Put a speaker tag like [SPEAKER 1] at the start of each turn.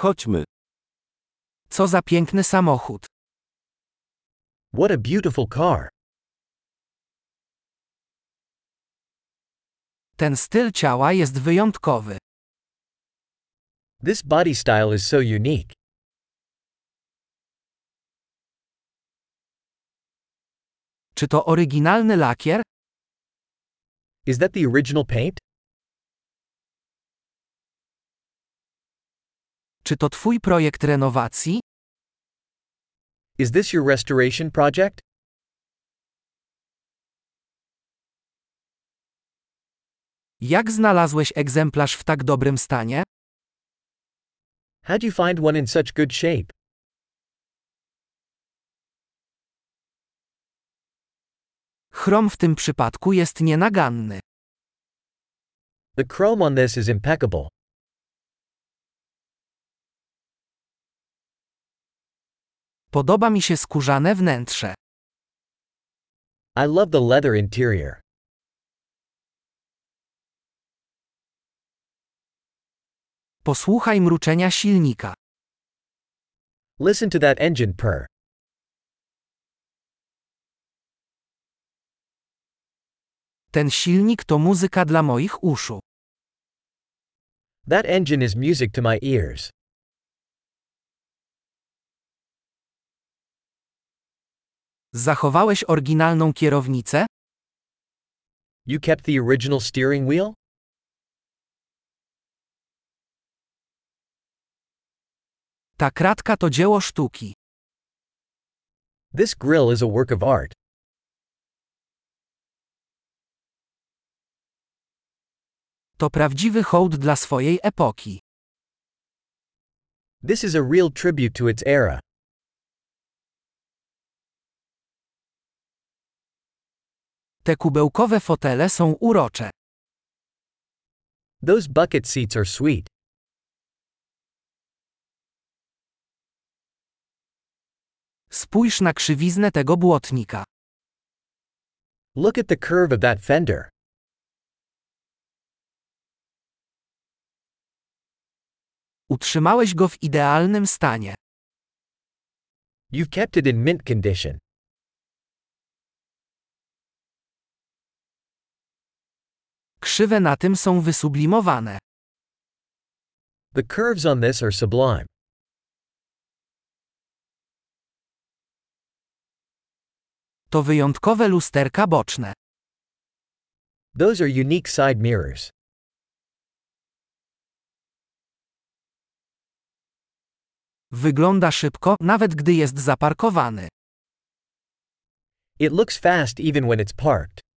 [SPEAKER 1] Chodźmy. Co za piękny samochód.
[SPEAKER 2] What a beautiful car.
[SPEAKER 1] Ten styl ciała jest wyjątkowy.
[SPEAKER 2] This body style is so unique.
[SPEAKER 1] Czy to oryginalny lakier?
[SPEAKER 2] Is that the original paint?
[SPEAKER 1] Czy to twój projekt renowacji?
[SPEAKER 2] Is this your restoration project?
[SPEAKER 1] Jak znalazłeś egzemplarz w tak dobrym stanie?
[SPEAKER 2] How'd you find one in such good shape?
[SPEAKER 1] Chrom w tym przypadku jest nienaganny.
[SPEAKER 2] The chrome on this is impeccable.
[SPEAKER 1] Podoba mi się skórzane wnętrze.
[SPEAKER 2] I love the leather interior.
[SPEAKER 1] Posłuchaj mruczenia silnika.
[SPEAKER 2] Listen to that engine purr.
[SPEAKER 1] Ten silnik to muzyka dla moich uszu.
[SPEAKER 2] That engine is music to my ears.
[SPEAKER 1] Zachowałeś oryginalną kierownicę?
[SPEAKER 2] You kept the original steering wheel?
[SPEAKER 1] Ta kratka to dzieło sztuki.
[SPEAKER 2] This grill is a work of art.
[SPEAKER 1] To prawdziwy hołd dla swojej epoki.
[SPEAKER 2] This is a real tribute to its era.
[SPEAKER 1] Te kubełkowe fotele są urocze.
[SPEAKER 2] Those bucket seats are sweet.
[SPEAKER 1] Spójrz na krzywiznę tego błotnika.
[SPEAKER 2] Look at the curve of that fender.
[SPEAKER 1] Utrzymałeś go w idealnym stanie.
[SPEAKER 2] You've kept it in mint condition.
[SPEAKER 1] Krzywe na tym są wysublimowane.
[SPEAKER 2] The curves on this are sublime.
[SPEAKER 1] To wyjątkowe lusterka boczne.
[SPEAKER 2] Those are unique side mirrors.
[SPEAKER 1] Wygląda szybko, nawet gdy jest zaparkowany.
[SPEAKER 2] It looks fast even when it's parked.